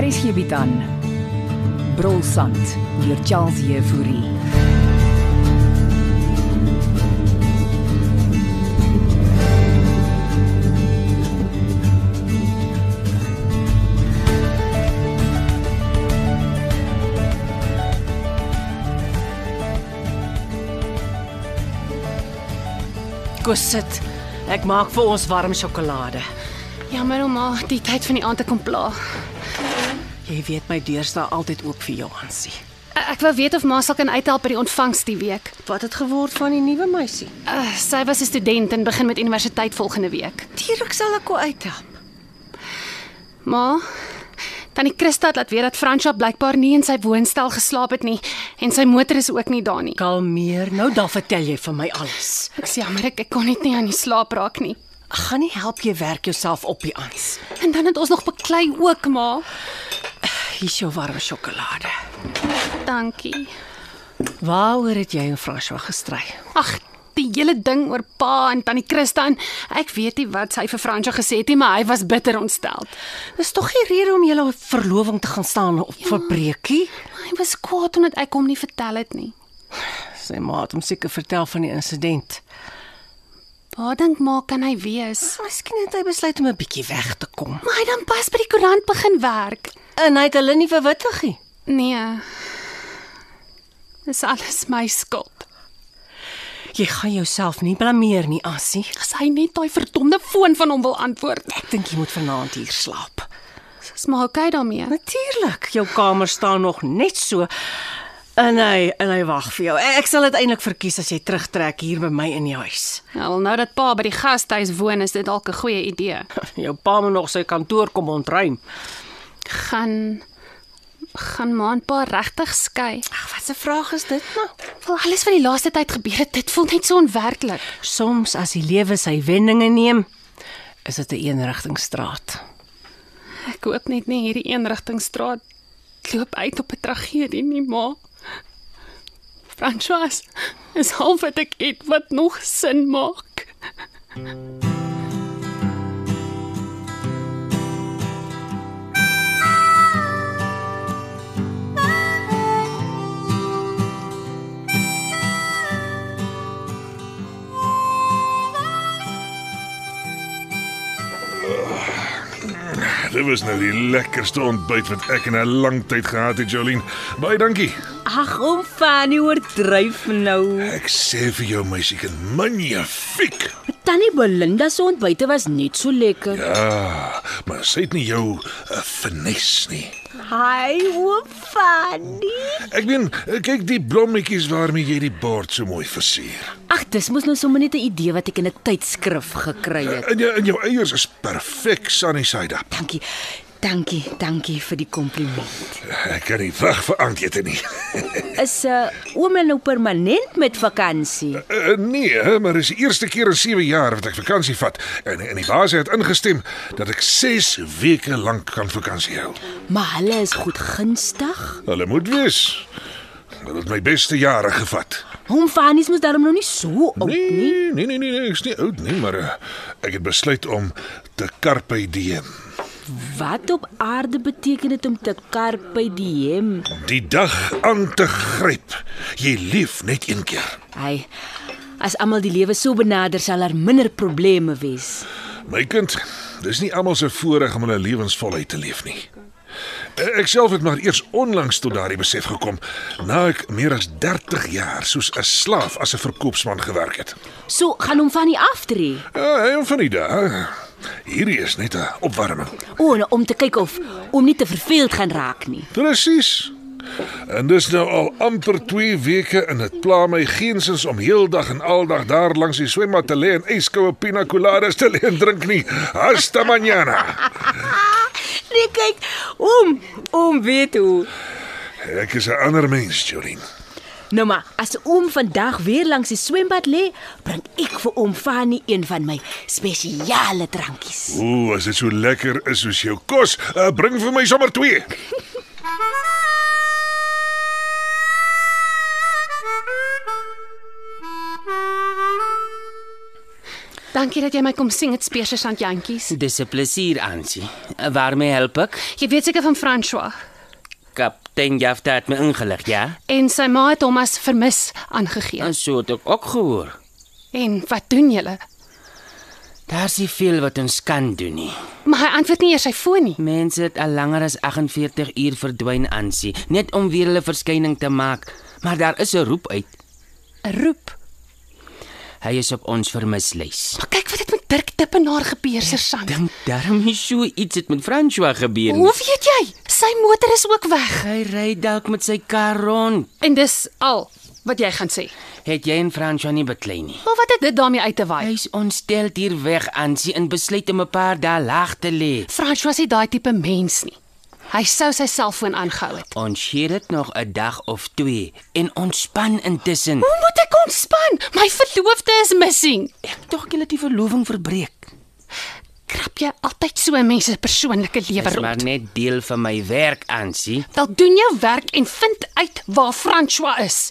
Hier is hierby dan. Brolsand deur Charles Jefouri. Kom sit. Ek maak vir ons warm sjokolade. Jammer om maar die tyd van die aand te kom pla. Jy weet my deur staan altyd oop vir jou, Ansie. E-, Ek ek wou weet of ma sal kan uithelp by die ontvangs die week. Wat het geword van die nuwe meisie? Uh, sy was 'n student en begin met universiteit volgende week. Dierik sal ek wel uithelp. Ma, tannie Christa het laat weet dat Fransja blykbaar nie in sy woonstel geslaap het nie en sy motor is ook nie daar nie. Kalmeer. Nou dan vertel jy vir my alles. Ek sê jammer, ek, ek kon net nie aan die slaap raak nie. Ek gaan nie help jy werk jouself op die ans. En dan het ons nog beklei ook, ma. Hier is jou warm sjokolade. Dankie. Waaroor het jy en François gestry? Ag, die hele ding oor pa en tannie Christa en ek weet nie wat sy vir Fransja gesê het nie, maar hy was bitter ontsteld. Dis tog nie rede om julle verloving te gaan staan op ja. verbreekie. Hy was kwaad omdat ek hom nie vertel het nie. Sy ma het hom seker vertel van die insident. Waar dink maar kan hy wees? Miskien het hy besluit om 'n bietjie weg te kom. Maar hy dan pas by die koerant begin werk. En hy het hulle nie verwittigie. Nee. Dis alles my skuld. Jy gaan jouself nie blameer nie, Assie. As hy net daai verdomde foon van hom wil antwoord. Ek dink jy moet vanaand hier slaap. Dis maar okay daarmee. Natuurlik, jou kamer staan nog net so. En hy en hy wag vir jou. Ek sal dit eintlik verkies as jy terugtrek hier by my in die huis. Ja, wel nou dat pa by die gasthuis woon, is dit dalk 'n goeie idee. Jou pa moet nog sy kantoor kom ontruim. Gaan gaan ma en pa regtig skei. Ag, wat 'n vraag is dit nou? Wel alles wat die laaste tyd gebeur het, dit voel net so onwerklik. Soms as die lewe sy wendinge neem, is dit 'n eenrigtingstraat. Ek hoop net nie hierdie eenrigtingstraat loop uit op 'n tragedie nie, ma. François, is half wat ek het wat nog sin maak. Dit was nou die lekkerste ontbyt wat ek in 'n lang tyd gehad het, Jolien. Baie dankie. Ag, om Fanny oordryf nou. Ek sê vir jou meisiekind, magnifiek. Tannie Belinda se ontbyte was net so lekker. Ja, Ah, maar sy het nie jou uh, finesse nie. Hi, oom Fanny. Ek meen, eh, kyk die blommetjies waarmee jy die bord so mooi versier. Ag, dis mos nou sommer net 'n idee wat ek in 'n tydskrif gekry het. En jou, en jou eiers is perfek sunny side up. Dankie. Dankie, dankie vir die kompliment. Ek kan nie wag vir aandete nie. Is 'n uh, ouma nou permanent met vakansie? Uh, nee, hè, maar dis die eerste keer in 7 jaar wat ek vakansie vat en en die baas het ingestem dat ek 6 weke lank kan vakansie hou. Maar hulle is goed gunstig. Hulle moet wees. Dit het my beste jare gevat. Hom Fanny is mos daarom nog nie so oud nie. Nee, nee, nee, nee, nee ek's nie oud nie, maar uh, ek het besluit om te carpe diem. Wat op aarde beteken dit om te karpe diem? Die dag aan te gryp. Jy lief net een keer. Hy as almal die lewe so benader sal daar minder probleme wees. My kind, dis nie almal se voorreg om hulle lewens voluit te leef nie. Ek self het maar eers onlangs tot daardie besef gekom na ek meer as 30 jaar soos 'n slaaf as 'n verkoopsman gewerk het. So gaan hom Fanny aftree. Ja, en van die dag, hierdie is net 'n opwarming. O, nou, om te kyk of om nie te verveeld gaan raak nie. Presies. En dis nou al amper 2 weke en dit pla my geensins om heeldag en aldag daar langs die swembad te lê en yskoue pina coladas te lê en drink nie. Hasta mañana. Nee, kyk, oom, oom weet hoe. Ek is 'n ander mens, Jolien. Nou maar, as oom vandag weer langs die swembad lê, bring ek vir oom Fanie een van my spesiale drankies. Ooh, as dit so lekker is soos jou kos, uh, bring vir my sommer twee. Dankie dat jy my kom sien, dit speerse sandjantjies. Dis 'n plesier, Ansie. Waarmee help ek? Jy weet seker van François Kaptein Jafta het my ingelig, ja? en sy ma het hom as vermis aangegee. En so het ek ook gehoor. En wat doen julle? Daar's nie veel wat ons kan doen nie. Maar hy antwoord nie eers sy foon nie. Mense het al langer as 48 uur verdwyn, Ansie, net om weer hulle verskyning te maak. Maar daar is 'n roep uit. 'n Roep. Hy is op ons vermislys. Maar kyk wat het met Dirk Dippenaar gebeur, Sersant. Dink darm nie so iets het met François gebeur nie. Hoe weet jy? Sy motor is ook weg. Hy ry dalk met sy kar rond. En dis al wat jy gaan sê. Het jy en François nie beklei nie. Maar wat het dit daarmee uit te waai? Hy's ontstel hier weg, Ansie, en besluit om 'n paar dae laag te lê. François is nie daai tipe mens nie. Hy sou sy selfoon aangehou het. Ons skeer dit nog 'n dag of 2 en ontspan intussen. Hoe moet ek ontspan? My verloofde is missing. Ek tog jy het die verloving verbreek. Krap jy altyd so 'n mens se persoonlike lewe Dis maar rond? net deel van my werk, Ansie. Wel doen jou werk en vind uit waar François is.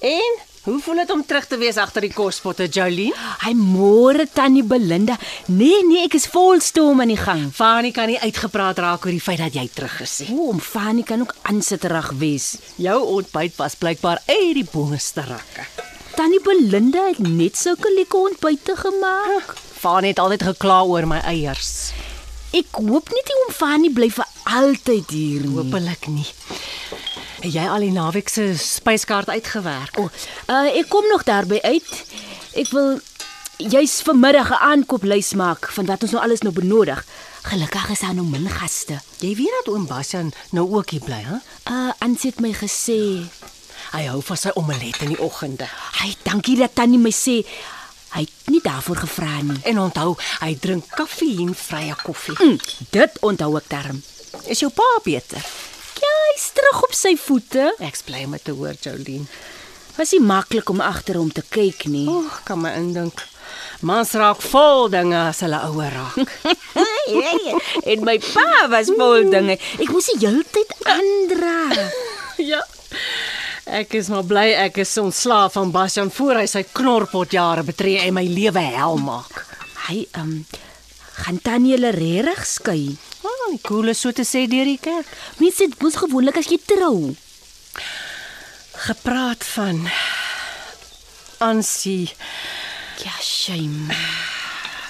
En hoe voel dit om terug te wees agter die kospotte, Jolene? Hy môre tannie Belinda. Nee nee, ek is volstom aan die gang. Fanie kan nie uitgepraat raak oor die feit dat jy terug is nie. Oom Fanie kan ook aansitterig wees. Jou ontbyt was blykbaar uit die bongeste rakke. Tannie Belinda het net sulke lekker ontbyte gemaak. Fanie het altyd gekla oor my eiers. Ek hoop net die oom Fanie bly vir altyd hier nie. Hoopelik nie. Het jy al die naweek se spyskaart uitgewerk? O, oh, uh, ek kom nog daarby uit. Ek wil juis vanmiddag 'n aankooplys maak van wat ons nou alles nou benodig. Gelukkig is daar nou min gaste. Jy weet dat oom Bastian nou ook hier bly, hè? Uh, Ansie het my gesê, Hy hou van sy omelet in die oggende. "Hy, dankie dat tannie my sê hy het nie daarvoor gevra nie." En onthou, hy drink koffievrye koffie. Mm, dit onthou ek darm. Is jou pa beter? Ja, hy's terug op sy voete. Ek's bly om dit te hoor, Jolene. Was nie maklik om agter hom te kyk nie. O, oh, kan my indink. Mans raak vol dinge as hulle ouer raak. en my pa was vol dinge. Ek moes die hele tyd aandra. ja. Ek is maar bly ek is ontslaaf van Bastian voor hy sy knorpot jare betree en my lewe hel maak. Hy ehm um, gaan tannie hulle regtig skei. Maar die koel is so te sê deur die kerk. Mense dit mos gewoonlik as jy trou. Gepraat van Ansie, Ja, shame.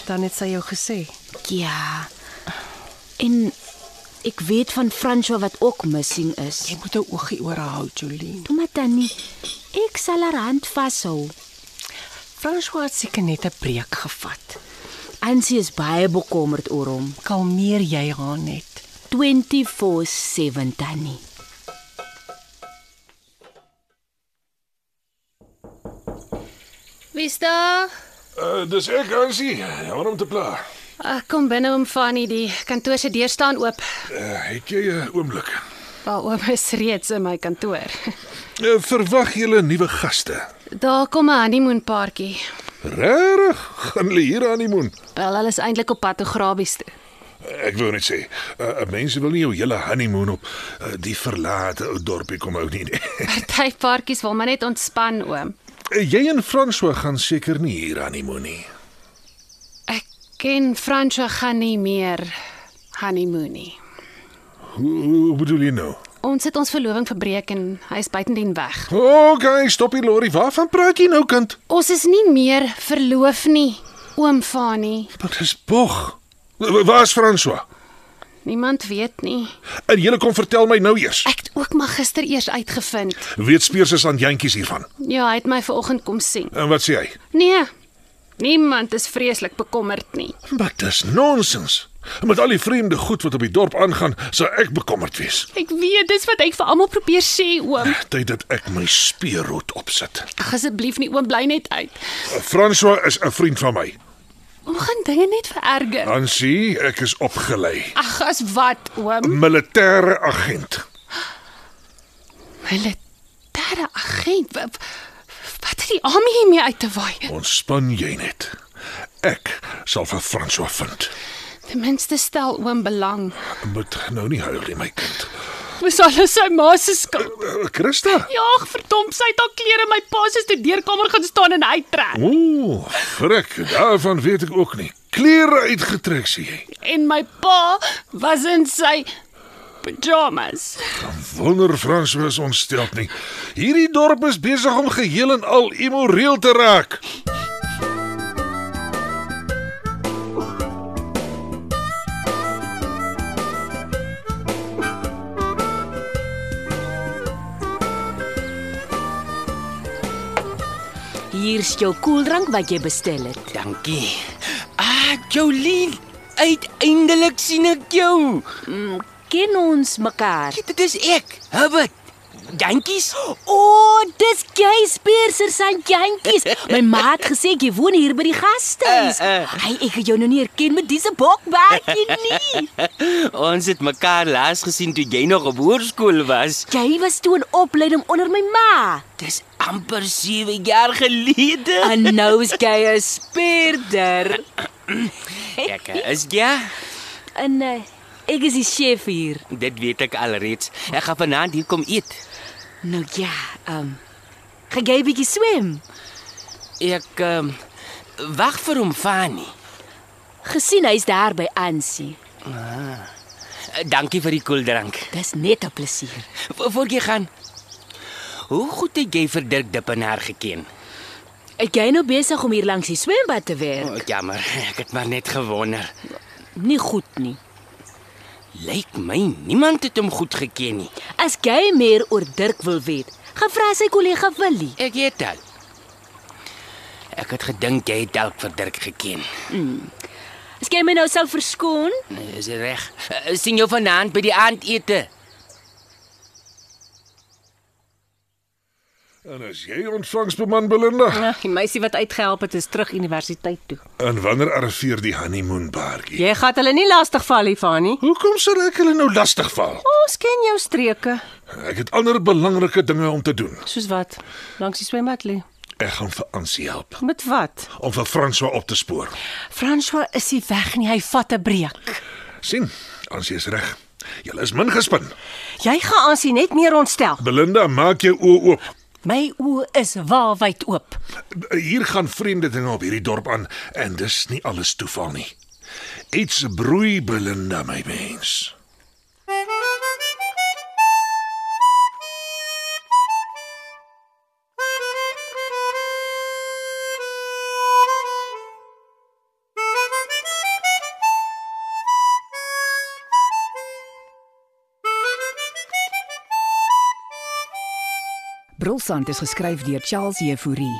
dan het sy jou gesê. Ja. En ek weet van François wat ook missing is. Jy moet 'n oogie oor haar hou, Jolene. Toe maar tannie, ek sal haar hand vashou. François het seker net 'n preek gevat. Ansie is baie bekommerd oor hom. Kalmeer jy haar net. 24/7 tannie. Wie's daar? Uh, dis ek, Ansie. Jammer om te pla. Ek Ah, kom binne om Fanny die kantoor se deur staan oop. Uh, het jy 'n oomblik? Waar oom is reeds in my kantoor. Uh, verwag julle nuwe gaste. Daar kom 'n honeymoon paartjie. Regtig? Gaan hulle hier aan die moon? Wel, hulle is eintlik op pad toe Grabies toe. Ek wou net sê, uh, mense wil nie jou hele honeymoon op uh, die verlate ou dorpie kom hou nie. nee. Party paartjies wil maar net ontspan, oom. Uh, jy en François gaan seker nie hier aan die moon nie. Ek ken Fransjo gaan nie meer honeymoon nie. Hoe, hoe bedoel jy nou? Ons het ons verloving verbreek en hy is buitendien weg. Okay, stop hier Lori. Waarvan praat jy nou kind? Ons is nie meer verloof nie, oom Fani. Wat is bog? Waar's François? Niemand weet nie. En jy kom vertel my nou eers. Ek het ook maar gister eers uitgevind. Weet Speers is aan jantjies hiervan. Ja, hy het my vanoggend kom sien. En wat sê hy? Nee. Niemand is vreeslik bekommerd nie. Maar dis nonsens. Met al die vreemde goed wat op die dorp aangaan, sou ek bekommerd wees. Ek weet dis wat ek vir almal probeer sê, oom. Tyd dat ek my speerrood opsit. Ag asseblief nie oom bly net uit. François is 'n vriend van my. Oom gaan dinge net vererger. Ansie, ek is opgelei. Ag, as wat, oom? Militêre agent. Militêre agent. Wa- Wat het die army hiermee uit te waai? Ontspan jy net. Ek sal vir François vind. Ten minste stel oom belang. Moet nou nie huil nie, my kind. Dis alles sy ma se skuld. Eh, Christa. Ja, verdomp, sy het haar klere in my pa se studeerkamer gaan staan en uittrek. Ooh, frik, daarvan weet ek ook nie. Klere uitgetrek sê jy. En my pa was in sy pyjamas. Wonder François ontstel nie. Hierdie dorp is besig om geheel en al immoreel te raak. Hier's jou koeldrank wat jy bestel het. Dankie. Ah, Jolien, uiteindelik sien ek jou. Ja, Ken ons mekaar. Dit is ek, Hubbard. Dankies. O, oh, dis jy Speerser Santjantjies. My ma het gesê jy woon hier by die gastehuis. Eh, eh. Hy ek het jou nog nie herken met dise bokbaardjie nie. Ons het mekaar laas gesien toe jy nog op hoërskool was. Jy was toe in opleiding onder my ma. Dis amper 7 jaar gelede. En nou is jy 'n speerder. Ek is ja, En uh, ek is die chef hier. dit weet ek alreeds. Ek gaan vanaand hier kom eet. Nou ja, ehm um, gaan jy 'n bietjie swem? Ek ehm wag vir hom Fani. Gesien hy's daar by Ansie. Dankie vir die koeldrank. Dis net 'n plesier. Vo- Voor jy gaan. Hoe goed het jy vir Dirk Dippenaar geken? Ek jy nou besig om hier langs die swembad te werk? Oh, jammer, ek het maar net gewonder. Nie goed nie. Lyk my niemand het hom goed geken nie. As jy meer oor Dirk wil weet, gaan vra sy kollega Willie. Ek weet dit. Ek het gedink jy het dalk vir Dirk geken. As jy my nou sal verskoon, Nee, Is dit reg? Eh, Sien jou vanaand by die aandete. En as jy ontvangsbeman Belinda. Ja. Ag, die meisie wat uitgehelp het is terug universiteit toe. En wanneer arriveer die honeymoon baartjie? Jy gaan hulle nie lastig val hiervan nie. Hoekom sal ek hulle nou lastigval? Ons ken jou streke, Ek het ander belangrike dinge om te doen. soos wat langs die swembad lê. Ek gaan vir Ansie help Met wat? om vir François op te spoor. François is nie weg nie, hy vat 'n breek. sien, Ansie is reg. Julle is min gespin. Jy gaan aansien net meer ontstel. Belinda, maak jou oë oop. My oë is waalwyd oop. Hier gaan vreemde dinge op hierdie dorp aan en dis nie alles toeval nie. Iets broei Belinda my mens. Brulsand is geskryf deur Charles Jefouri.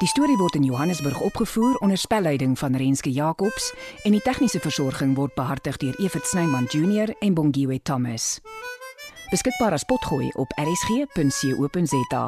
Die storie word in Johannesburg opgevoer onder spelleiding van Renske Jacobs en die tegniese versorging word behartig deur Evert Snyman Junior en Bongwe Thomas. Beskikbaar as potgooi op rsg.co.za.